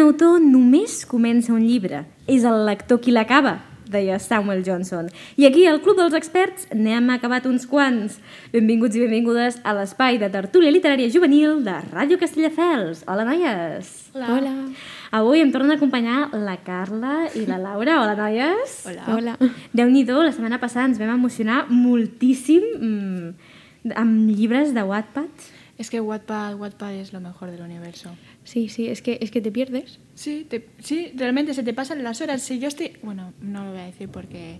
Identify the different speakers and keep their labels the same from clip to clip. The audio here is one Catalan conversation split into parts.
Speaker 1: autor només comença un llibre, és el lector qui l'acaba, deia Samuel Johnson. I aquí, al Club dels Experts, n'hem acabat uns quants. Benvinguts i benvingudes a l'espai de tertúlia literària juvenil de Ràdio Castelldefels. Hola, noies!
Speaker 2: Hola. Hola.
Speaker 1: Avui em tornen a acompanyar la Carla i la Laura. Hola, noies!
Speaker 2: Hola.
Speaker 1: Déu-n'hi-do, la setmana passada ens vam emocionar moltíssim mm, amb llibres de Wattpad.
Speaker 3: Es que Wattpad, Wattpad es lo mejor del universo.
Speaker 2: Sí, sí, es que, es que te pierdes.
Speaker 3: Sí, te- sí, realmente se te pasan las horas. Si yo estoy... Bueno, no lo voy a decir porque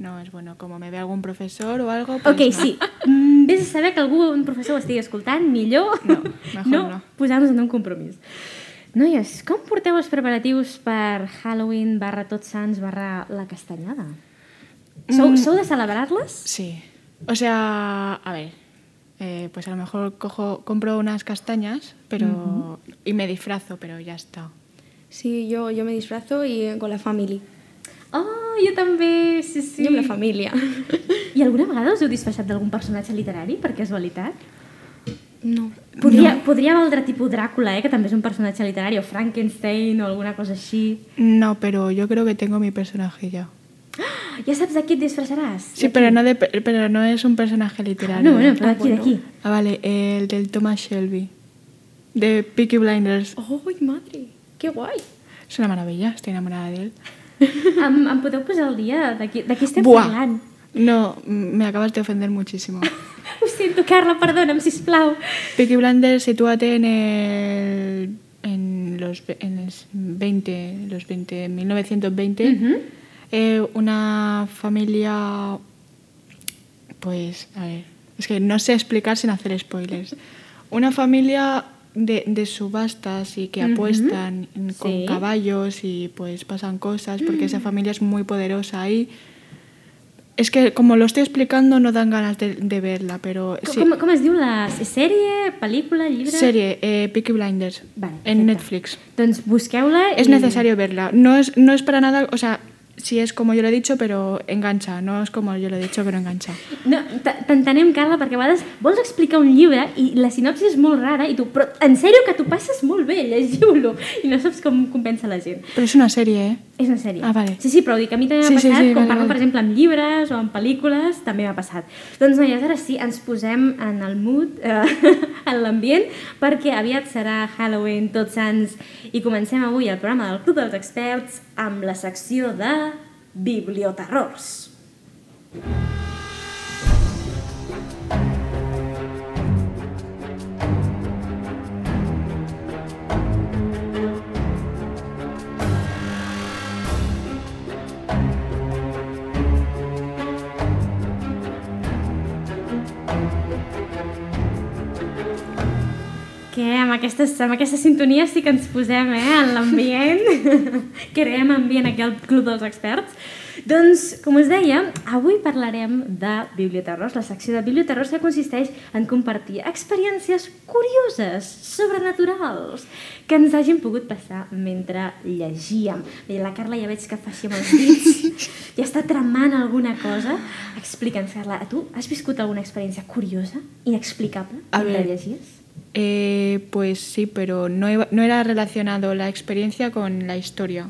Speaker 3: no es bueno. Como me ve algún profesor o algo... pues
Speaker 1: Ok,
Speaker 3: no.
Speaker 1: sí. Mm, Vés a saber que algú, un professor, ho estigui escoltant, millor
Speaker 3: No, mejor no.
Speaker 1: posar-nos en un compromís. Noies, com porteu els preparatius per Halloween barra Tots Sants barra la Castanyada? Sou, sou de celebrar-les?
Speaker 3: Sí. O sea, a ver, eh, pues a lo mejor cojo, compro unas castañas pero y me disfrazo, pero ya está.
Speaker 2: Sí, yo, yo me disfrazo y eh, con la familia.
Speaker 1: Oh, jo també, sí, sí.
Speaker 2: Yo con la familia.
Speaker 1: I alguna vegada us heu disfressat d'algun personatge literari, per casualitat?
Speaker 2: No.
Speaker 1: Podria, no. podria valdre tipus Dràcula, eh, que també és un personatge literari, o Frankenstein, o alguna cosa així.
Speaker 3: No, pero yo creo que tengo mi personaje ya.
Speaker 1: Ja saps de qui et disfressaràs?
Speaker 3: Sí, pero no, de, pe- pero no es un personaje literario. ¿eh?
Speaker 1: No, bueno, però
Speaker 2: Ah,
Speaker 1: d'aquí,
Speaker 2: bueno.
Speaker 1: d'aquí.
Speaker 3: Ah, vale, el del Thomas Shelby, de Peaky Blinders.
Speaker 2: ¡Ay, madre! ¡Qué guay!
Speaker 3: Es una maravilla, estoy enamorada de él.
Speaker 1: Em, em podeu posar al dia de qui, de qui estem
Speaker 3: Buah.
Speaker 1: parlant?
Speaker 3: No, m- me acabas de ofender muchísimo.
Speaker 1: Ho sento, Carla, perdona'm, sisplau.
Speaker 3: Peaky Blinders, sitúate en el... En los, ve- en el 20, los 20, en 1920, Eh, una familia, pues, a ver, es que no sé explicar sin hacer spoilers. Una familia de, de subastas y que
Speaker 1: Ujú.
Speaker 3: apuestan en- con
Speaker 1: Sí. Mm.
Speaker 3: caballos y pues pasan cosas porque esa familia es muy poderosa ahí. Es que como lo estoy explicando no dan ganas de, de verla, pero
Speaker 1: Com,
Speaker 3: sí.
Speaker 1: com, com es diu la s- sèrie, pel·lícula, llibre?
Speaker 3: Serie, eh, Peaky Blinders,
Speaker 1: Vale, perfecte.
Speaker 3: en Netflix.
Speaker 1: Doncs busqueu-la.
Speaker 3: Es
Speaker 1: i-
Speaker 3: necesario verla. No es, no es para nada, o sea, sí es como yo lo he dicho, pero engancha. No es como yo lo he dicho, pero engancha.
Speaker 1: No, t- T'entenem, Carla, perquè a vegades vols explicar un llibre i la sinopsi és molt rara i tu, però en sèrio que t'ho passes molt bé, llegiu-lo, i no saps com compensa la gent.
Speaker 3: Pero es una serie, ¿eh?
Speaker 1: És una sèrie.
Speaker 3: Ah, vale.
Speaker 1: Sí, sí, però dic, a mi també m'ha
Speaker 3: Sí, sí,
Speaker 1: passat,
Speaker 3: sí,
Speaker 1: com
Speaker 3: vale,
Speaker 1: parlo,
Speaker 3: vale.
Speaker 1: per exemple, amb llibres o amb pel·lícules, també m'ha passat. Doncs, noies, ara sí, ens posem en el mood, eh, en l'ambient, perquè aviat serà Halloween, tots sants, i comencem avui el programa del Club dels Experts amb la secció de Biblioterrors. Que amb, aquestes, amb aquesta sintonia sí que ens posem eh, en l'ambient, creem ambient aquí al Club dels Experts. Doncs, com us deia, avui parlarem de biblioterrors, la secció de biblioterrors que consisteix en compartir experiències curioses, sobrenaturals, que ens hagin pogut passar mentre llegíem. Bé, la Carla ja veig que fa així amb els dits, ja està tramant alguna cosa. Explica'ns, Carla, tu has viscut alguna experiència curiosa, inexplicable,
Speaker 3: A
Speaker 1: mentre
Speaker 3: ver,
Speaker 1: llegies?
Speaker 3: Eh, pues sí, pero no, iba- no era relacionado la experiencia con la historia,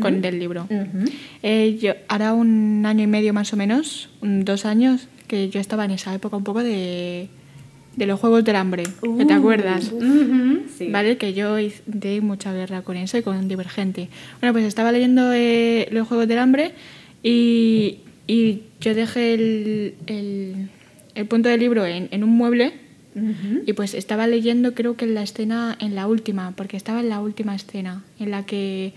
Speaker 3: con del libro.
Speaker 1: Mm. Mhm.
Speaker 3: Eh, yo, hará un año y medio más o menos, un- dos años, que yo estaba en esa época un poco de, de los Juegos del Hambre, que
Speaker 1: Uh,
Speaker 3: ¿te acuerdas?
Speaker 1: Mhm, sí.
Speaker 3: Mm-hmm. ¿Vale? Que yo hice- di mucha guerra con eso y con Divergente. Bueno, pues estaba leyendo eh, Los Juegos del Hambre y, y yo dejé el, el- el punto del libro en, en un mueble
Speaker 1: Mhm.
Speaker 3: y pues estaba leyendo creo que en la escena, en la última, porque estaba en la última escena, en la que...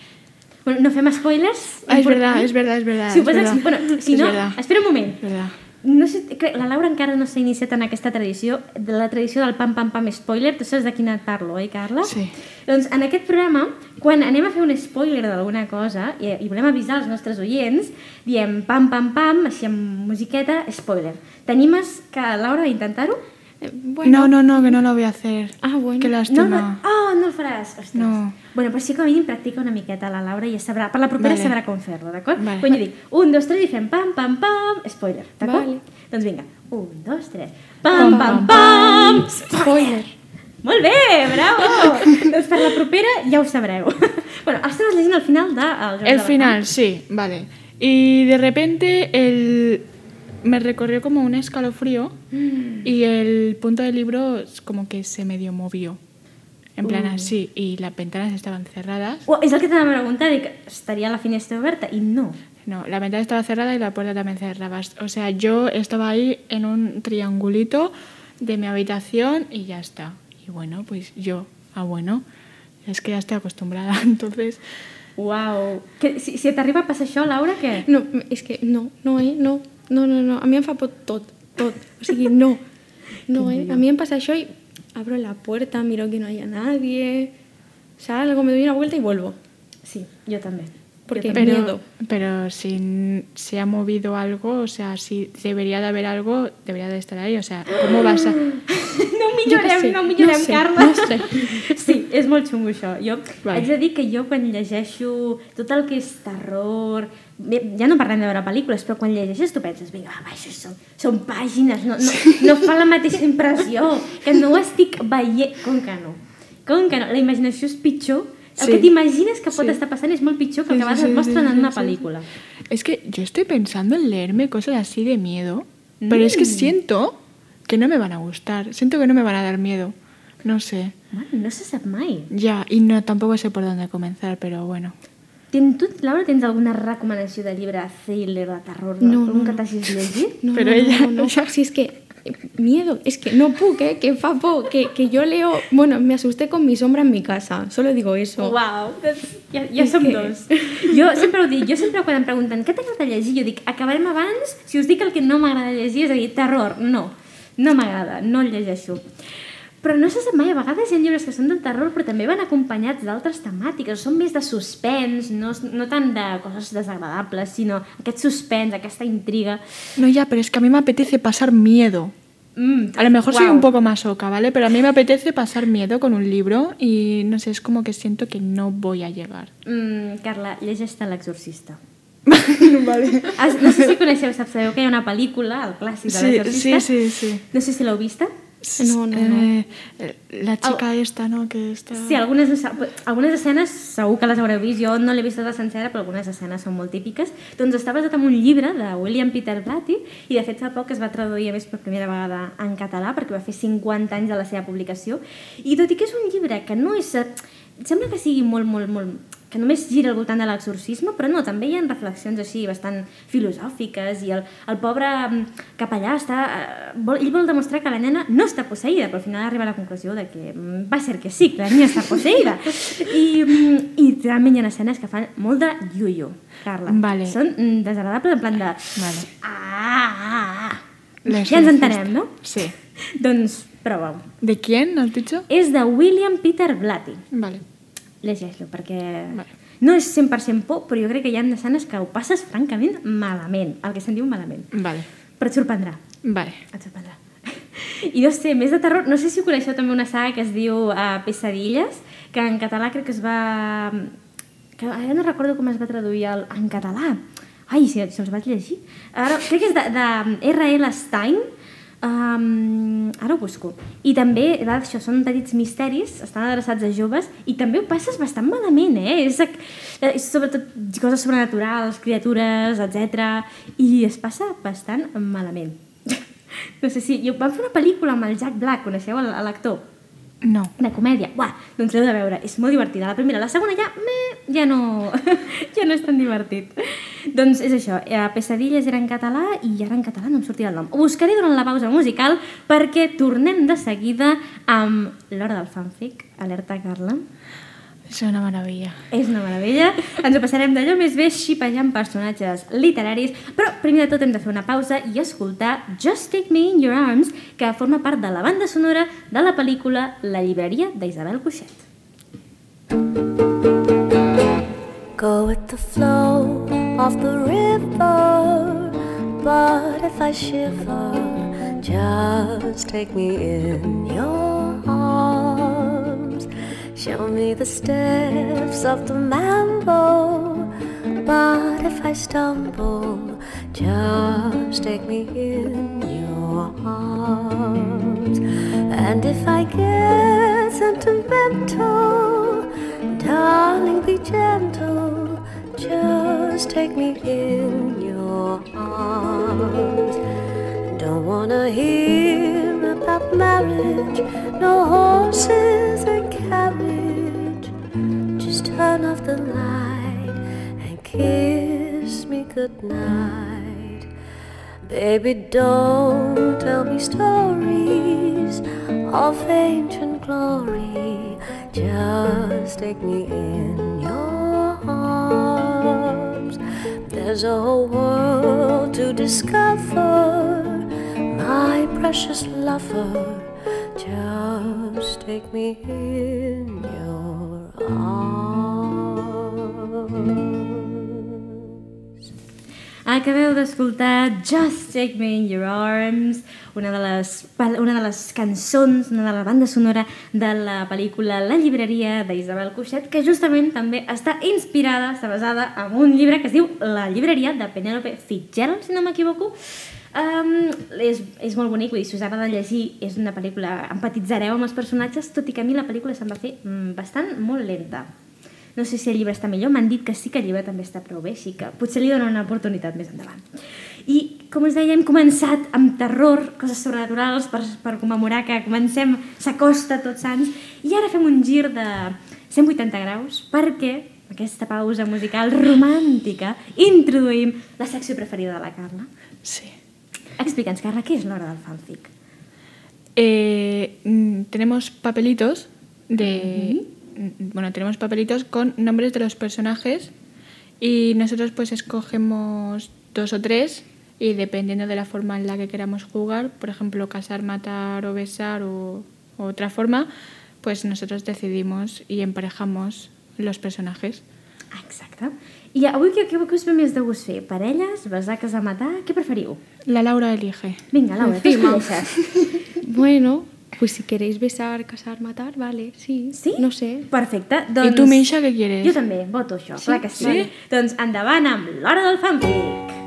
Speaker 1: Bueno, no fem spoilers.
Speaker 3: Ah, es verdad, es verdad, es verdad.
Speaker 1: Si ho
Speaker 3: es
Speaker 1: pots
Speaker 3: verdad.
Speaker 1: ex- pues, bueno, si
Speaker 3: Es
Speaker 1: no,
Speaker 3: verdad,
Speaker 1: espera un moment.
Speaker 3: es verdad.
Speaker 1: No sé, crec, la Laura encara no s'ha iniciat en aquesta tradició, de la tradició del pam-pam-pam spoiler, tu saps de quina et parlo, oi, Carla?
Speaker 3: Sí.
Speaker 1: Doncs en aquest programa, quan anem a fer un spoiler d'alguna cosa i, i volem avisar els nostres oients, diem pam-pam-pam, així amb musiqueta, spoiler. T'animes que, Laura, a intentar-ho?
Speaker 2: Eh, bueno.
Speaker 3: No, no, no, que no lo voy a hacer.
Speaker 2: Ah, bueno.
Speaker 3: Qué
Speaker 1: No,
Speaker 3: lástima.
Speaker 1: no, oh, no el faràs. Ostres.
Speaker 3: No.
Speaker 1: Bueno, però sí que a mínim practica una miqueta la Laura i ja sabrà, per la propera
Speaker 3: Vale.
Speaker 1: sabrà com fer-lo, d'acord?
Speaker 3: Vale.
Speaker 1: Quan jo dic, un, dos, tres i fem pam, pam, pam, spoiler, d'acord?
Speaker 2: Vale.
Speaker 1: Doncs vinga, un, dos, tres, pam, pam, pam, spoiler.
Speaker 2: Spoiler.
Speaker 1: Molt bé, bravo! doncs per la propera ja ho sabreu. bueno, estaves llegint el final de... El, Jordi
Speaker 3: El
Speaker 1: Alba.
Speaker 3: final, sí, vale. Y de repente el... me recorrió como un escalofrío y el punto del libro es como que se medio movió. En plan así, y las ventanas estaban cerradas.
Speaker 1: Oh, és el que t'anava a preguntar, dic, estaria la finestra oberta? I no.
Speaker 3: No, la ventana estaba cerrada y la puerta también cerrada. O sea, yo estaba ahí en un triangulito de mi habitación y ya está. Y bueno, pues yo, ah bueno, es que ya estoy acostumbrada, entonces...
Speaker 1: Uau. Que, si, si t'arriba a passar això, Laura, què?
Speaker 2: No, és que no, no, eh? No, no, no, no. A mi em fa por tot, tot. O sigui, no. No, eh? A mi em passa això i abro la puerta, miro que no haya nadie, salgo, me doy una vuelta y vuelvo.
Speaker 1: Sí, jo també.
Speaker 2: Porque-
Speaker 1: Jo també.
Speaker 3: Pero,
Speaker 2: miedo.
Speaker 3: pero si se ha movido algo, o sea, si debería de haber algo, debería de estar ahí. O sea, ¿cómo vas a...?
Speaker 1: No millorem,
Speaker 2: Jo què sé,
Speaker 1: no millorem,
Speaker 2: no sé,
Speaker 1: Carla.
Speaker 2: no sé.
Speaker 1: Sí, és molt xungo això. Jo
Speaker 3: Vale.
Speaker 1: haig de dir que jo quan llegeixo tot el que és terror... Bé, ja no parlem de veure pel·lícules, però quan llegeixes tu penses, vinga, "Ah, va, això són, són pàgines, no, no, no fa la mateixa impressió, que no ho estic veient... Com que no? Com que no? La imaginació és pitjor. El
Speaker 3: Sí.
Speaker 1: que t'imagines que pot
Speaker 3: Sí.
Speaker 1: estar passant és molt pitjor que el que
Speaker 3: Sí,
Speaker 1: a
Speaker 3: sí,
Speaker 1: vegades
Speaker 3: sí,
Speaker 1: et mostren en
Speaker 3: sí, sí,
Speaker 1: una
Speaker 3: sí, sí.
Speaker 1: pel·lícula.
Speaker 3: Es que yo estoy pensando en leerme cosas así de miedo, pero es que siento que no me van a gustar, siento que no me van a dar miedo. No sé.
Speaker 1: Bueno, no se sap mai.
Speaker 3: Ya, y no tampoco sé por dónde comenzar, pero bueno.
Speaker 1: Tens, tu, Laura, tens alguna recomanació de llibre thriller, de terror, de,
Speaker 2: No, no,
Speaker 1: algun que
Speaker 2: no.
Speaker 1: t'hagis llegit?
Speaker 2: No,
Speaker 3: Pero
Speaker 2: no, no,
Speaker 3: ella-
Speaker 2: no, no.
Speaker 3: ella-
Speaker 2: Si es que eh, miedo, es que no puc, eh, que fa por, que, que yo leo, bueno, me asusté con mi sombra en mi casa, solo digo eso.
Speaker 1: Uau, doncs ja, ja som
Speaker 2: que-
Speaker 1: dos. Jo sempre ho dic, jo sempre quan em pregunten què t'agrada llegir, jo dic, acabarem abans si us dic el que no m'agrada llegir, és a dir, terror, no, no m'agrada, no el llegeixo. Però no se sap mai, a vegades hi ha llibres que són de terror però també van acompanyats d'altres temàtiques, són més de suspens, no, no tant de coses desagradables, sinó aquest suspens, aquesta intriga.
Speaker 3: No, ya, pero es que a mí me apetece pasar miedo.
Speaker 1: Mm,
Speaker 3: A lo mejor soy
Speaker 1: uau.
Speaker 3: un poco más oca, ¿vale? Pero a mí me apetece pasar miedo con un libro y no sé, es como que siento que no voy a llegar.
Speaker 1: Mm, Carla, llegeix-te l'exorcista. vale. No sé si coneixeu, saps, sabeu que hi ha una pel·lícula, el clàssic de
Speaker 3: Sí,
Speaker 1: l'exorcista?
Speaker 3: sí, sí, sí.
Speaker 1: No sé si l'heu vista.
Speaker 2: No, no, no.
Speaker 3: Eh, eh, la chica esta, ¿no? Que está...
Speaker 1: Sí, algunes, no sa- algunes escenes segur que les haureu vist, jo no l'he vist tota sencera, però algunes escenes són molt típiques. Doncs està basat en un llibre de William Peter Blatty i de fet fa poc es va traduir a més per primera vegada en català perquè va fer 50 anys de la seva publicació i tot i que és un llibre que no és... em Sembla que sigui molt, molt, molt que només gira al voltant de l'exorcisme, però no, també hi ha reflexions així bastant filosòfiques i el, el pobre mm, capellà està, eh, vol, ell vol demostrar que la nena no està posseïda, però al final arriba a la conclusió de que mm, va ser que sí, que la nena està posseïda. I, mm, i realment hi ha escenes que fan molt de yuyo, Carla.
Speaker 3: Vale.
Speaker 1: Són mm, desagradables en plan de...
Speaker 3: Vale.
Speaker 1: Ah, ah, ah.
Speaker 3: La
Speaker 1: Ja ens
Speaker 3: exorcista.
Speaker 1: entenem, no?
Speaker 3: Sí.
Speaker 1: Doncs prova-ho.
Speaker 3: ¿De quién has dicho?
Speaker 1: És de William Peter Blatty.
Speaker 3: Vale.
Speaker 1: Llegeix-lo, perquè
Speaker 3: Vale.
Speaker 1: no és 100% por, però jo crec que hi ha escenes que ho passes francament malament, el que se'n diu malament.
Speaker 3: Vale.
Speaker 1: Però et sorprendrà,
Speaker 3: Vale.
Speaker 1: et sorprendrà. I no sé, més de terror, no sé si coneixeu també una saga que es diu uh, Pesadilles, que en català crec que es va... Que ara no recordo com es va traduir el... en català. Ai, si, si els vaig llegir. Ara, crec que és de, de R.L. Stein, Um, ara ho busco. I també, va, això són petits misteris, estan adreçats a joves, i també ho passes bastant malament, eh? És, ac- eh, és sobretot coses sobrenaturals, criatures, etc. I es passa bastant malament. no sé si... Jo, van fer una pel·lícula amb el Jack Black, coneixeu el- l'actor?
Speaker 3: No.
Speaker 1: De comèdia. Buah, doncs l'heu de veure, és molt divertida. La primera, la segona ja... Meh, ja no... ja no és tan divertit. doncs és això, eh, Pesadilles era en català i ara en català no em sortirà el nom. Ho buscaré durant la pausa musical perquè tornem de seguida amb l'hora del fanfic. Alerta, Carla.
Speaker 3: Es una maravilla.
Speaker 1: És una meravella. Ens ho passarem d'allò més bé xipejant personatges literaris, però primer de tot hem de fer una pausa i escoltar Just Take Me In Your Arms, que forma part de la banda sonora de la pel·lícula La llibreria d'Isabel Coixet.
Speaker 4: Go with the flow of the river. But if I shiver, just take me in your arms. Show me the steps of the mambo. But if I stumble, just take me in your arms. And if I get sentimental. Darling, be gentle. Just take me in your arms. Don't wanna hear about marriage, no horses and carriage. Just turn off the light and kiss me goodnight. Baby, don't tell me stories of ancient glory. Just take me in your arms. There's a whole world to discover, my precious lover. Just take me in your arms.
Speaker 1: Acabeu d'escoltar Just Take Me In Your Arms, una de, les, pel- una de les cançons, una de la banda sonora de la pel·lícula La llibreria d'Isabel Coixet, que justament també està inspirada, està basada en un llibre que es diu La llibreria de Penélope Fitzgerald, si no m'equivoco. Um, és, és molt bonic, vull dir, si us agrada llegir, és una pel·lícula... Empatitzareu amb els personatges, tot i que a mi la pel·lícula se'm va fer mm, bastant molt lenta. No sé si el llibre està millor, m'han dit que sí que el llibre també està prou bé, així que potser li donen una oportunitat més endavant. I, com us deia, hem començat amb terror, coses sobrenaturals, per, per commemorar que comencem, s'acosta tots sants, i ara fem un gir de 180 graus, perquè amb aquesta pausa musical romàntica introduïm la secció preferida de la Carla.
Speaker 3: Sí.
Speaker 1: Explica'ns, Carla, què és l'hora del fanfic?
Speaker 3: Eh, mm, tenemos papelitos de. mm, Bueno, tenemos papelitos con nombres de los personajes y nosotros pues escogemos dos o tres y dependiendo de la forma en la que queramos jugar, por ejemplo, casar, matar o besar o, o otra forma, pues nosotros decidimos y emparejamos los personajes.
Speaker 1: Ah, Exacte. I avui què, què, què us ve més de gust fer? Parelles? Besaques a matar? Què preferiu?
Speaker 3: La Laura elige.
Speaker 1: Vinga, Laura, tu escoleixes.
Speaker 2: Bueno, pues si queréis besar, casar, matar, vale, sí.
Speaker 1: Sí?
Speaker 2: No sé.
Speaker 1: Perfecte. Doncs...
Speaker 3: ¿Y tú, Misha, qué quieres?
Speaker 1: Jo també, voto això, sí? clar que sí.
Speaker 3: Vale.
Speaker 1: Doncs endavant amb l'hora del fanfic.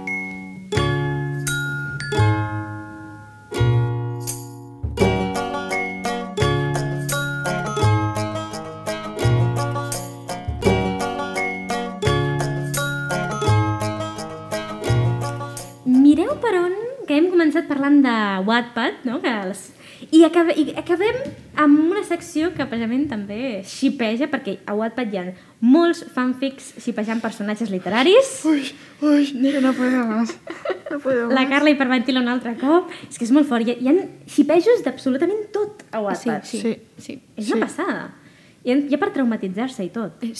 Speaker 1: Mireu per on, que hem començat parlant de Wattpad, no? Que les... I, acabe, I acabem amb una secció que precisament també xipeja, perquè a Wattpad hi ha molts fanfics xipejant personatges literaris.
Speaker 3: Uy, uy, no puedo más. No puedo
Speaker 1: La Carla hiperventila un altre cop. És que és molt fort. Hi ha, hi ha xipejos d'absolutament tot a
Speaker 2: Sí,
Speaker 1: Wattpad.
Speaker 2: sí.
Speaker 3: Sí.
Speaker 2: Sí.
Speaker 1: És una passada. Hi ha, hi ha per traumatitzar-se i tot.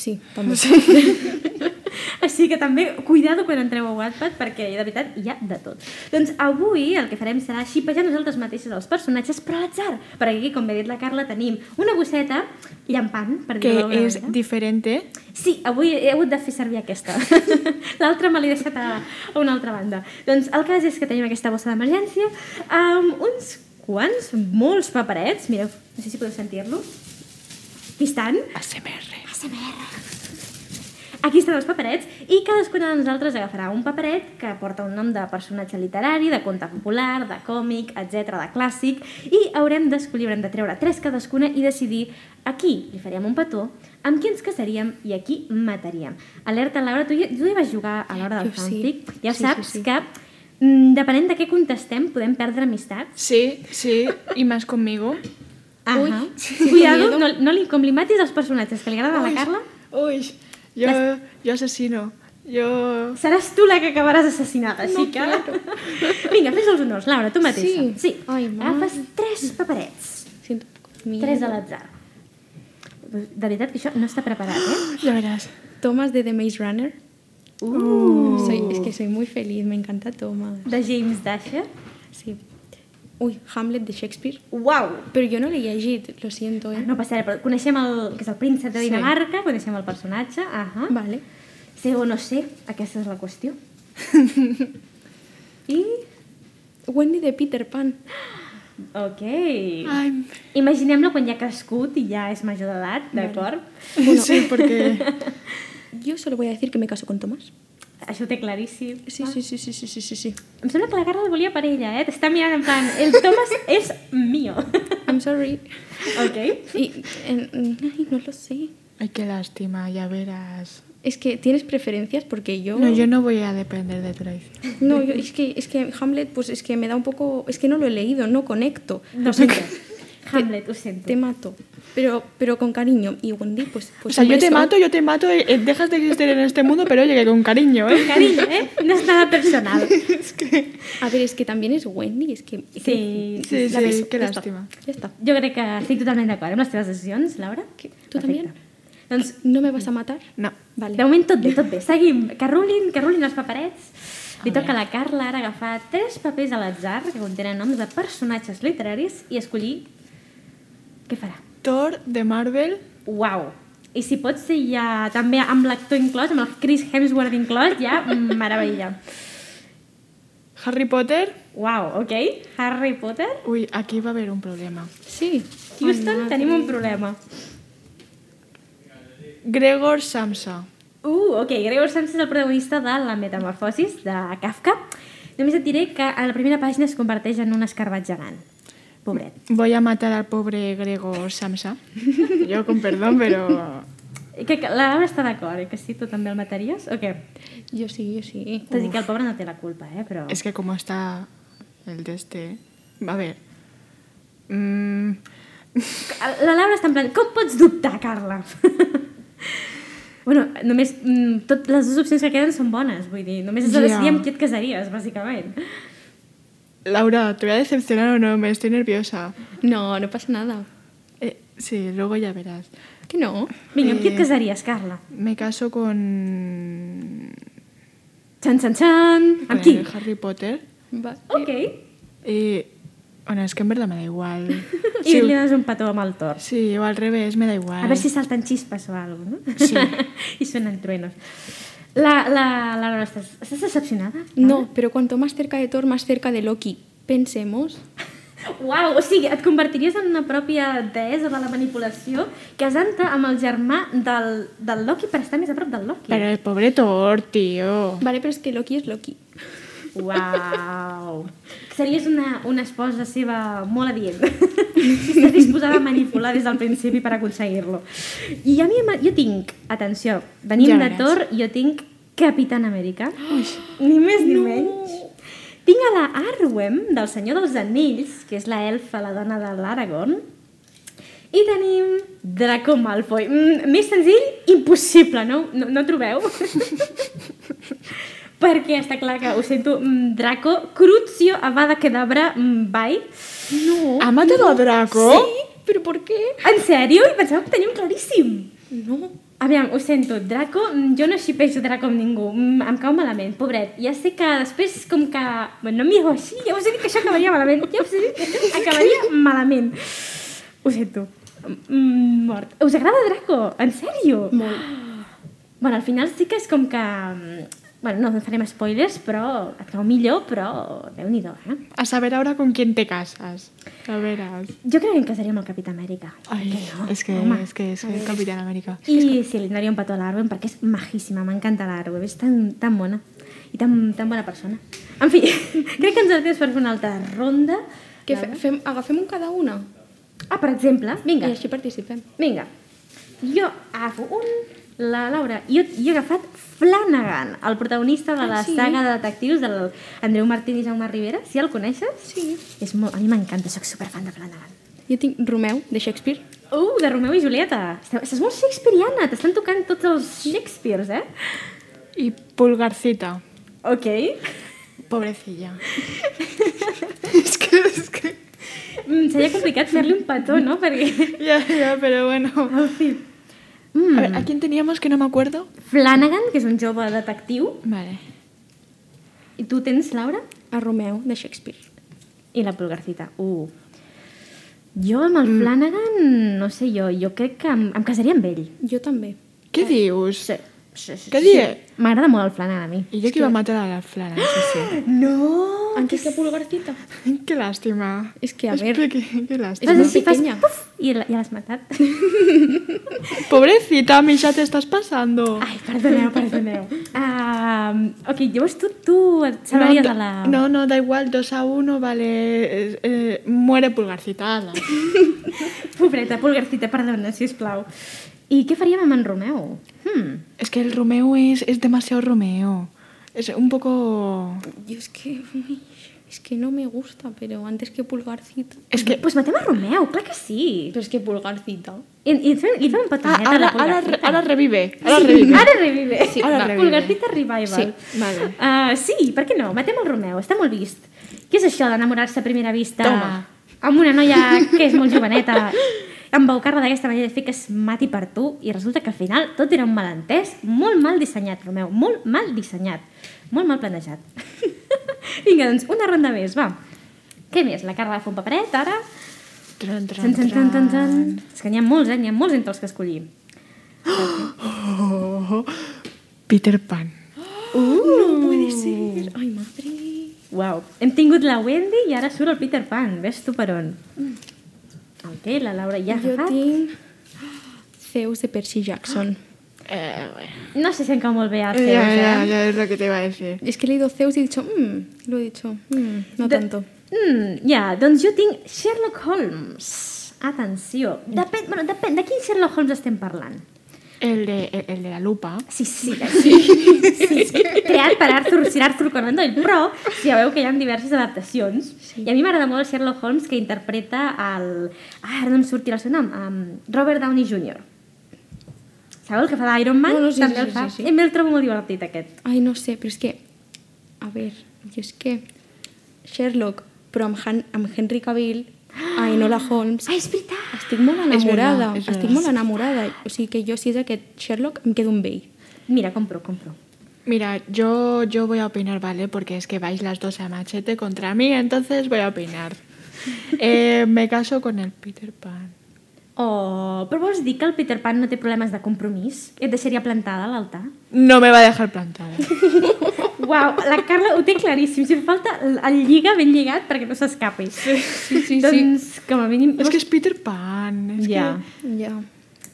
Speaker 2: Eh,
Speaker 1: Així
Speaker 2: sí, també.
Speaker 1: que també, cuidado quan entreu a Wattpad, perquè de veritat hi ha de tot. Doncs avui el que farem serà xipejar nosaltres mateixes els personatges, però a l'atzar, perquè aquí, com bé ha dit la Carla, tenim una bosseta llampant, per dir-ho d'alguna
Speaker 3: Que es
Speaker 1: manera.
Speaker 3: diferente.
Speaker 1: Sí, avui he hagut de fer servir aquesta. L'altra me l'he deixat a, a una altra banda. Doncs el cas és que tenim aquesta bossa d'emergència amb uns quants, molts paperets, mireu, no sé si podeu sentir-lo, aquí estan,
Speaker 3: ASMR.
Speaker 1: aquí estan els paperets, i cadascuna de nosaltres agafarà un paperet que porta un nom de personatge literari, de conte popular, de còmic, etc de clàssic, i haurem d'escollir, haurem de treure tres cadascuna i decidir a qui li faríem un petó, amb qui ens casaríem i a qui mataríem. Alerta, Laura, tu, hi- tu hi vas jugar a l'hora del
Speaker 2: Jo sí.
Speaker 1: fanfic, ja
Speaker 2: Sí, sí,
Speaker 1: saps
Speaker 2: sí.
Speaker 1: que mm, depenent de què contestem podem perdre amistats.
Speaker 3: Sí, sí, y más conmigo.
Speaker 1: Ah,
Speaker 2: Ui,
Speaker 1: Cuidado, no, no li, com li matis els personatges que li agrada a la
Speaker 3: Uy,
Speaker 1: Carla,
Speaker 3: Uy, yo, yo asesino. Yo.
Speaker 1: seràs tu la que acabaràs assassinada, així
Speaker 2: No
Speaker 1: que... Vinga, fes els honors, Laura, tu mateixa.
Speaker 2: Sí.
Speaker 1: sí.
Speaker 2: Ai, mare.
Speaker 1: Agafes tres paperets.
Speaker 2: Siento un poco de miedo.
Speaker 1: Tres a l'atzar. De veritat que això no està preparat, eh?
Speaker 3: Ya verás.
Speaker 2: Thomas de The Maze Runner. Soy, es que soy muy feliz, me encanta Thomas.
Speaker 1: De James Dasher.
Speaker 2: Sí. Uy, Hamlet de Shakespeare.
Speaker 1: Uau!
Speaker 2: Pero yo no leí a Git, lo siento, ¿eh?
Speaker 1: Ah, No passarà, però coneixem el, que és el príncep de
Speaker 3: Sí.
Speaker 1: Dinamarca, coneixem el personatge, ahà.
Speaker 2: Vale.
Speaker 1: Sé o no sé, aquesta és la qüestió. I...
Speaker 2: Wendy de Peter Pan.
Speaker 1: Ok.
Speaker 3: Ay,
Speaker 1: Imaginem-la quan ja ha crescut i ja és major d'edat, d'acord?
Speaker 3: sí, porque.
Speaker 2: Yo solo voy a decir que me caso con Thomas.
Speaker 1: Això ho té claríssim.
Speaker 2: Sí, sí, sí, sí, sí, sí, sí, sí.
Speaker 1: Em sembla que la Carla el volia per ella, eh? T'està mirant en plan, el Thomas és mío.
Speaker 2: I'm sorry.
Speaker 1: ok.
Speaker 2: Y, en- ay, no lo sé.
Speaker 3: Ay, qué lástima, ya verás.
Speaker 2: Es que tienes preferencias porque yo...
Speaker 3: No, yo no voy a depender de tu traición.
Speaker 2: No, yo- es, que, es que Hamlet, pues es que me da un poco... Es que no lo he leído, no conecto.
Speaker 1: No, Hamlet, ho sento.
Speaker 2: Te mato. Pero, pero con cariño. Y Wendy, pues...
Speaker 3: O
Speaker 2: pues
Speaker 3: sea, yo
Speaker 2: eso.
Speaker 3: te mato, yo te mato, eh, eh, dejas de existir en este mundo, pero oye, que con cariño, ¿eh?
Speaker 1: Cariño, eh? No és nada personal.
Speaker 2: A ver, es que también es Wendy, es que... es que-
Speaker 1: Sí.
Speaker 3: Sí,
Speaker 2: La
Speaker 3: sí,
Speaker 2: beso,
Speaker 3: qué
Speaker 2: ya está.
Speaker 3: lástima.
Speaker 2: Ya está.
Speaker 1: Jo crec que estic totalment d'acord amb les teves decisions, Laura.
Speaker 2: Que- tu també?
Speaker 1: Doncs,
Speaker 2: ¿No me vas a matar?
Speaker 3: No.
Speaker 2: Vale.
Speaker 1: de moment tot bé, tot bé. Seguim. Que rulin, que rulin els paperets. Li
Speaker 3: A
Speaker 1: toca a la Carla ara agafar tres papers a l'atzar que contenen noms de personatges literaris i escollir què farà.
Speaker 3: Thor de Marvel.
Speaker 1: Uau! I si pot ser ja també amb l'actor inclòs, amb el Chris Hemsworth inclòs, ja meravella.
Speaker 3: Harry Potter.
Speaker 1: Uau, ok. Harry Potter.
Speaker 3: Uy, aquí va a haber un problema.
Speaker 2: Sí.
Speaker 1: Houston, tenim un problema.
Speaker 3: Gregor Samsa.
Speaker 1: Uh, ok, Gregor Samsa és el protagonista de La metamorfosis, de Kafka. Només et diré que a la primera pàgina es converteix en un escarbat gegant. Pobret.
Speaker 3: Voy a matar al pobre Gregor Samsa. Yo con perdón, pero...
Speaker 1: Que, que la Laura està d'acord, eh? que sí, tu també el mataries? O què?
Speaker 2: Yo sí, yo sí.
Speaker 1: T'has dit que el pobre no té la culpa, eh? Però...
Speaker 3: Es que como está el de este... A ver. Mm,
Speaker 1: La Laura està en plan, com pots dubtar, Carla? bueno, només... mm, Tot, les dues opcions que queden són bones, vull dir, només has de
Speaker 3: Ja.
Speaker 1: decidir amb qui et casaries, bàsicament.
Speaker 3: Laura, ¿te voy a decepcionar o no? Me estoy nerviosa.
Speaker 2: No, no pasa nada.
Speaker 3: Eh, sí, luego ya verás.
Speaker 2: Que no.
Speaker 1: Vinga, amb qui
Speaker 3: Eh.
Speaker 1: et casaries, Carla?
Speaker 3: Me caso con...
Speaker 1: Xan, xan, xan!
Speaker 3: con
Speaker 1: Amb qui?
Speaker 3: el Harry Potter.
Speaker 2: Va-
Speaker 1: Ok.
Speaker 3: Y... Bueno, es que en verdad me da igual.
Speaker 1: I
Speaker 3: Sí,
Speaker 1: li dones un petó amb el tors.
Speaker 3: sí, o al revés, me da igual.
Speaker 1: A ver si saltan chispas o algo, ¿no?
Speaker 3: Sí.
Speaker 1: y suenan truenos. La, la, la Laura, ¿estás, estás decepcionada?
Speaker 2: No, pero cuanto más cerca de Thor, más cerca de Loki. Pensemos.
Speaker 1: Uau, o sigui, et convertiries en una pròpia deessa de la manipulació casant-te amb el germà del, del Loki per estar més a prop del Loki.
Speaker 3: Pero el pobre Thor, tío.
Speaker 2: Vale, pero es que Loki es Loki.
Speaker 1: Uau. Series una, una esposa seva molt adient. Si estàs disposada a manipular des del principi per aconseguir-lo. I a mi, m'ha- jo tinc, atenció, venim
Speaker 3: Ja
Speaker 1: de
Speaker 3: veuràs.
Speaker 1: Thor, jo tinc Capitán Amèrica. Ni més ni menys. Tinc a la Arwen, del Senyor dels Anells, que és la elfa, la dona de l'Aragorn, i tenim Draco Malfoy. Mm, més senzill, impossible, no? No, no trobeu? Perquè està clar que, ho sento, mm, Draco, Crucio, Avada Kedavra, mm, bye.
Speaker 2: No.
Speaker 3: ¿Ha matado a Draco?
Speaker 2: Sí, pero ¿por qué?
Speaker 1: En sèrio? I pensava que ho teníem claríssim.
Speaker 2: No.
Speaker 1: Aviam, ho sento, Draco, mm, jo no xipejo Draco amb ningú, mm, em cau malament, pobret. Ja sé que després, com que... Bueno, no em mireu així, ja us he dit que això acabaria malament, ja us he dit que això acabaria malament. Ho sento, mm, mort. Us agrada Draco? En sèrio?
Speaker 2: Molt.
Speaker 1: Bueno, al final sí que és com que... mm, Bueno, no farem spoilers, però et cau millor, però déu-n'hi-do, eh?
Speaker 3: A saber ahora con quién te casas. A verás.
Speaker 1: Jo crec que em casaria amb el Capità Amèrica.
Speaker 3: Ay,
Speaker 1: no?
Speaker 3: es que
Speaker 1: Home.
Speaker 3: es que es el Capitán América.
Speaker 1: I sí, li donaria un petó a l'Arwen perquè és majíssima, m'encanta l'Arwen, és tan, tan bona i tan, tan bona persona. En fi, crec que ens el temps per fer una altra ronda.
Speaker 2: Que fe, fem, agafem un cada una
Speaker 1: Ah, per exemple, vinga,
Speaker 2: i així participem.
Speaker 1: vinga. Jo agafo un, la Laura, jo, jo he agafat Flanagan, el protagonista de la
Speaker 2: Ah, sí?
Speaker 1: saga de detectius del Andreu Martín i Jaume Rivera, si el coneixes?
Speaker 2: Sí.
Speaker 1: És molt, a mi m'encanta, sóc superfan de Flanagan.
Speaker 2: Jo tinc Romeu, de Shakespeare.
Speaker 1: Uh, de Romeu i Julieta. Esteu- Estàs molt shakespeariana, t'estan tocant tots els Shakespeares, eh?
Speaker 3: Y Pulgarcita.
Speaker 1: Ok.
Speaker 3: Pobrecilla. es que es que
Speaker 1: Mm, seria complicat fer-li un petó, no? Perquè...
Speaker 3: ya ya, pero bueno.
Speaker 1: En fi. Mm,
Speaker 3: A ver, ¿a quién teníamos que no me acuerdo?
Speaker 1: Flanagan, que és un jove detectiu,
Speaker 3: Vale.
Speaker 1: i tu tens Laura
Speaker 2: A Romeu, de Shakespeare.
Speaker 1: i la Pulgarcita. Uh. Jo amb el mm. Flanagan, no sé jo, jo crec que em, em casaria amb ell.
Speaker 3: Eh,
Speaker 2: Jo també.
Speaker 3: ¿Qué dius? Què dius?
Speaker 1: M'agrada molt el flanel a mi.
Speaker 3: I jo que iba a matar a la Flana, sí,
Speaker 1: No!
Speaker 2: Antes que Pulgarcita.
Speaker 3: sí. Qué lástima.
Speaker 2: Es que, a ver,
Speaker 3: Espera, qué, qué lástima.
Speaker 1: Fas
Speaker 2: molt
Speaker 1: així, fas
Speaker 2: pequeña.
Speaker 1: puf, i la- ja l'has matat.
Speaker 3: Pobrecita, mi, ya te estás pasando.
Speaker 1: Ai, perdoneu, perdoneu. Um, ok, llavors tu, tu et salvaries de la...
Speaker 3: no, no, da igual, 2 a 1, vale. eh, eh, muere Pulgarcita. ala.
Speaker 1: Pobreta, Polgarcita, perdona, sisplau. I què faríem amb en Romeu? Hmm.
Speaker 3: Es que el Romeo es, es demasiado Romeo. Es un poco.
Speaker 2: yo es que. Es que no me gusta, pero antes que Pulgarcita.
Speaker 3: Es que.
Speaker 1: Pues Doncs matem a Romeu, clar que sí.
Speaker 2: Pero es que Pulgarcita.
Speaker 1: I, i, fem, i fem un
Speaker 3: Ah,
Speaker 1: petonet a
Speaker 3: ahora,
Speaker 1: la
Speaker 3: ahora,
Speaker 1: Polgarcita.
Speaker 3: ahora revive. Ahora revive.
Speaker 1: Ara revive.
Speaker 3: Sí, ara
Speaker 1: Va,
Speaker 3: revive.
Speaker 1: Polgarcita revival.
Speaker 2: Sí, vale.
Speaker 1: Uh, sí, per què no? Matem el Romeu, està molt vist. Què és això d'enamorar-se a primera vista?
Speaker 3: Toma.
Speaker 1: Amb una noia que és molt joveneta, embaucar-la d'aquesta manera de fer que es mati per tu i resulta que al final tot era un malentès molt mal dissenyat, Romeu, molt mal dissenyat, molt mal planejat. Vinga, doncs, una ronda més, va. Què més? La Carla fa un paperet, ara?
Speaker 3: Tran, tran,
Speaker 1: Tan, tan, tan, tan, tan.
Speaker 3: tran.
Speaker 1: És que n'hi ha molts, eh? N'hi ha molts entre els que escollir.
Speaker 3: Peter Pan.
Speaker 2: No puede ser. Ay, madre.
Speaker 1: Uau, hem tingut la Wendy i ara surt el Peter Pan, ves tu per on. El té, la Laura ja ha
Speaker 2: Yo
Speaker 1: agafat.
Speaker 2: tengo Zeus de Percy Jackson.
Speaker 3: Eh, bueno.
Speaker 1: No sé si em cau molt bé el Zeus,
Speaker 3: Ya, ya,
Speaker 1: eh?
Speaker 3: ya es lo que te iba a decir.
Speaker 2: Es que he leído Zeus y he dicho, mmm, lo he dicho, mm, no
Speaker 1: De-
Speaker 2: tanto.
Speaker 1: Mm, ja, doncs jo tinc Sherlock Holmes. Atenció. Depèn, bueno, depèn de quin Sherlock Holmes estem parlant.
Speaker 3: El de, el, el de la lupa.
Speaker 1: Sí, sí, sí. sí, sí. Creat per Arthur, Sir Arthur Conan Doyle, però ja veu que hi ha diverses adaptacions. Sí. I a mi m'agrada molt el Sherlock Holmes que interpreta el... Ah, ara no em sortirà el seu nom. Um, Robert Downey Jr. Sabeu el que fa d'Iron Man?
Speaker 2: No, no, sí,
Speaker 1: També
Speaker 2: sí,
Speaker 1: el
Speaker 2: sí,
Speaker 1: fa.
Speaker 2: sí, sí.
Speaker 1: I me'l trobo molt divertit, aquest.
Speaker 2: Ay, no sé, pero es que, a ver, yo es que Sherlock, pero amb, Han- amb Henry Cavill, a Enola Holmes,
Speaker 1: Ah, és veritat!
Speaker 2: estic molt enamorada,
Speaker 3: verdad, és
Speaker 2: estic
Speaker 3: verdad.
Speaker 2: molt enamorada. O sigui que jo, si és aquest Sherlock, em quedo amb ell.
Speaker 1: Mira, compro, compro.
Speaker 3: Mira, yo, yo voy a opinar, ¿vale? Porque es que vais las dos a machete contra mí, entonces voy a opinar. Eh, me caso con el Peter Pan.
Speaker 1: Oh, però vols dir que el Peter Pan no té problemes de compromís? Et deixaria plantada a l'altar?
Speaker 3: No me va a dejar plantada.
Speaker 1: Uau, la Carla ho té claríssim. Si falta el lliga ben lligat perquè no s'escapi. Sí, sí,
Speaker 2: sí.
Speaker 1: Doncs, com a mínim...
Speaker 3: Es que es Peter Pan. Es
Speaker 1: Ja.
Speaker 2: Ja.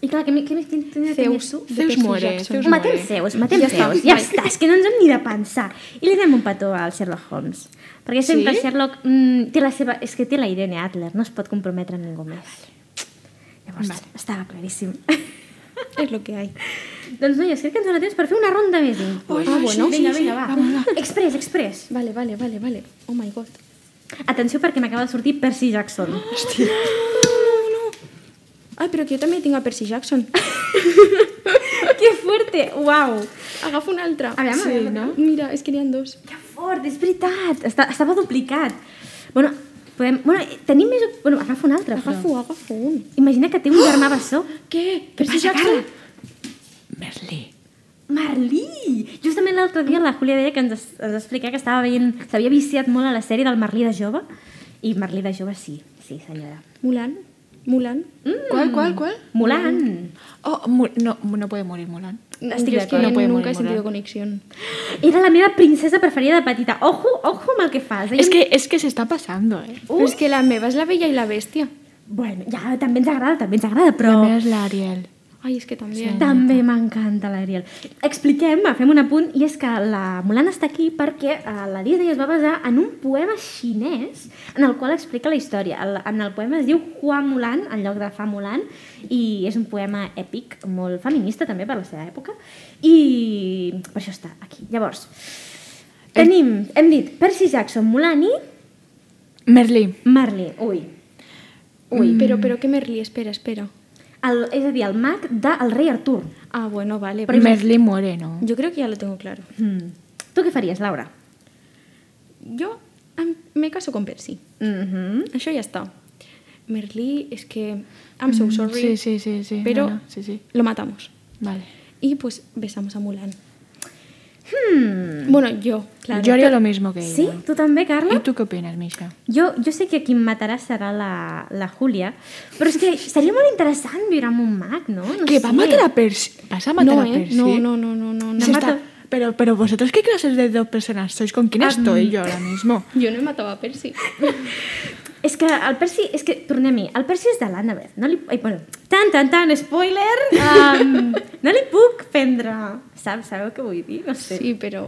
Speaker 1: I clar, què més què més tens? Tens
Speaker 2: Zeus,
Speaker 1: tu?
Speaker 3: Zeus
Speaker 2: de Percy
Speaker 3: muere,
Speaker 2: Jackson.
Speaker 3: Zeus muere.
Speaker 1: Matem Zeus, matem
Speaker 2: Ja
Speaker 1: Zeus.
Speaker 2: està,
Speaker 1: ja
Speaker 2: vale.
Speaker 1: està, és que no ens hem ni de pensar. I li donem un petó al Sherlock Holmes. Perquè sempre
Speaker 3: Sí?
Speaker 1: el Sherlock mm, té la seva... És que té la Irene Adler, no es pot comprometre amb ningú més. Llavors, estava claríssim.
Speaker 2: És lo que hay.
Speaker 1: doncs, noies, crec que ens dona temps per fer una ronda més.
Speaker 3: Ui,
Speaker 1: ah,
Speaker 3: sí,
Speaker 1: bueno,
Speaker 3: sí,
Speaker 1: vinga,
Speaker 3: sí,
Speaker 1: vinga,
Speaker 3: sí.
Speaker 1: va.
Speaker 3: Vamos,
Speaker 1: Express, express.
Speaker 2: Vale, vale, vale, vale. Oh my god.
Speaker 1: Atenció perquè m'acaba de sortir Percy Jackson.
Speaker 2: Ai, però que jo també tinc a Percy Jackson.
Speaker 1: que fuerte! Uau!
Speaker 2: Agafa una altra.
Speaker 1: Aviam,
Speaker 2: sí,
Speaker 1: aviam,
Speaker 2: no? Mira, és que n'hi ha dos.
Speaker 1: Que fort, és veritat! Està, estava duplicat. Bueno, podem... Bueno, tenim més... op- Bueno, agafa un altre, però.
Speaker 2: Agafo, agafo un.
Speaker 1: Imagina que té un germà bessó.
Speaker 2: Què?
Speaker 1: Què passa, Carla?
Speaker 3: Merlí.
Speaker 1: Merlí! Justament l'altre dia la Júlia deia que ens, es- ens explicava que estava veient... S'havia viciat molt a la sèrie del Merlí de jove. I Merlí de jove sí, sí, senyora. Mm,
Speaker 2: Mulan. Mulan.
Speaker 3: ¿Cuál, cuál, cuál?
Speaker 1: Mulan!
Speaker 3: Mm. Oh, mu- no, no puede morir Mulan.
Speaker 1: Estic
Speaker 2: Yo es que
Speaker 1: d'acord.
Speaker 3: no puede
Speaker 2: nunca he
Speaker 3: morir
Speaker 2: sentido
Speaker 3: Mulan.
Speaker 2: conexión.
Speaker 1: Era la meva princesa preferida de petita. Ojo, ojo amb el que fas. eh?
Speaker 3: Es que, es que se está pasando, ¿eh?
Speaker 2: Pero es que la meva es la bella y la bestia.
Speaker 1: Bueno, ja, també ens agrada, també ens agrada, però...
Speaker 3: No es la Ariel.
Speaker 2: Ay, es que también.
Speaker 1: També m'encanta l'Ariel. Expliquem, va, fem un apunt, i és que la Mulan està aquí perquè eh, la Disney es va basar en un poema xinès en el qual explica la història. El, en el poema es diu Hua Mulan, en lloc de Fa Mulan, i és un poema èpic, molt feminista també per la seva època, i per això està aquí. Llavors, tenim, hem dit Percy Jackson, Mulan i
Speaker 3: Merlí.
Speaker 1: Marley. Ui,
Speaker 3: Mm.
Speaker 2: Uy, pero, pero que Merlí, espera, espera.
Speaker 1: el, és a dir, el mag del rei Artur.
Speaker 2: Ah, bueno, vale.
Speaker 3: Merlí muere, ¿no?
Speaker 2: Yo creo que ya lo tengo claro.
Speaker 1: Mm. Tu què faries, Laura?
Speaker 2: Yo am- me caso con Percy.
Speaker 1: Mhm.
Speaker 2: Eso ya está. Merlí es que... I'm so sorry.
Speaker 3: Mm, Sí, sí, sí, sí.
Speaker 2: Pero
Speaker 3: No, no, sí, sí.
Speaker 2: lo matamos.
Speaker 3: Vale.
Speaker 2: Y pues besamos a Mulan.
Speaker 1: Hmm.
Speaker 2: Bueno, yo.
Speaker 1: Claro.
Speaker 3: Yo haría lo mismo que ella.
Speaker 1: Sí? Tu també, Carla?
Speaker 3: ¿Y tú qué opinas, Misha?
Speaker 1: Jo, jo sé que qui em matarà serà la, la Júlia, però és que seria molt interessant viure amb un mag, no? no
Speaker 3: ¿Que
Speaker 1: sé.
Speaker 3: va a matar a Percy? ¿Vas a matar
Speaker 2: No,
Speaker 3: a
Speaker 2: ¿eh?
Speaker 3: Percy?
Speaker 2: No, no, no, no, no. no.
Speaker 3: Se está-
Speaker 1: mato.
Speaker 3: Pero, pero vosotros, ¿qué clases de dos personas sois? ¿Con quién estoy yo ahora mismo?
Speaker 2: Yo no he matado a Percy.
Speaker 1: És que el Percy, és que, tornem-hi, el Percy és de l'Annabeth, no li... Ai, bueno, tan, tan, tan, spoiler! Um, no li puc prendre, saps? Sabeu què vull dir? No sé.
Speaker 2: Sí, pero.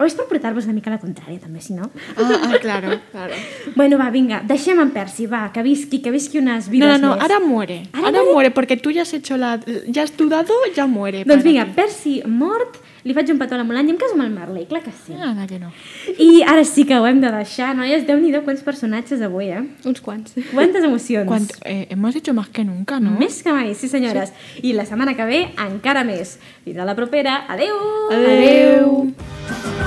Speaker 1: O és per portar-vos una mica a la contrària, també, si no.
Speaker 3: Ah, ah, claro, claro.
Speaker 1: Bueno, va, vinga, deixem en Percy, va, que visqui, que visqui unes
Speaker 3: No, no,
Speaker 1: vides
Speaker 3: no,
Speaker 1: més.
Speaker 3: ahora muere.
Speaker 1: Ahora
Speaker 3: Ahora,
Speaker 1: muere.
Speaker 3: muere. porque tú ya has hecho la. Ya has dudado, ya muere.
Speaker 1: Doncs
Speaker 3: para
Speaker 1: vinga,
Speaker 3: ti.
Speaker 1: Pues Percy mort, li faig un petó a la Melania, em caso amb el Marley, clar que sí.
Speaker 3: Nada que no.
Speaker 1: I ara sí que ho hem de deixar, noies, déu nhi quants personatges avui, eh?
Speaker 2: Uns quants.
Speaker 1: Quantes emocions.
Speaker 3: Cuant- eh, hemos hecho más que nunca, ¿no?
Speaker 1: Més que mai, sí senyores. Sí. I la setmana que ve encara més. Fins a la propera. Adeu!
Speaker 3: Adeu.
Speaker 4: Thank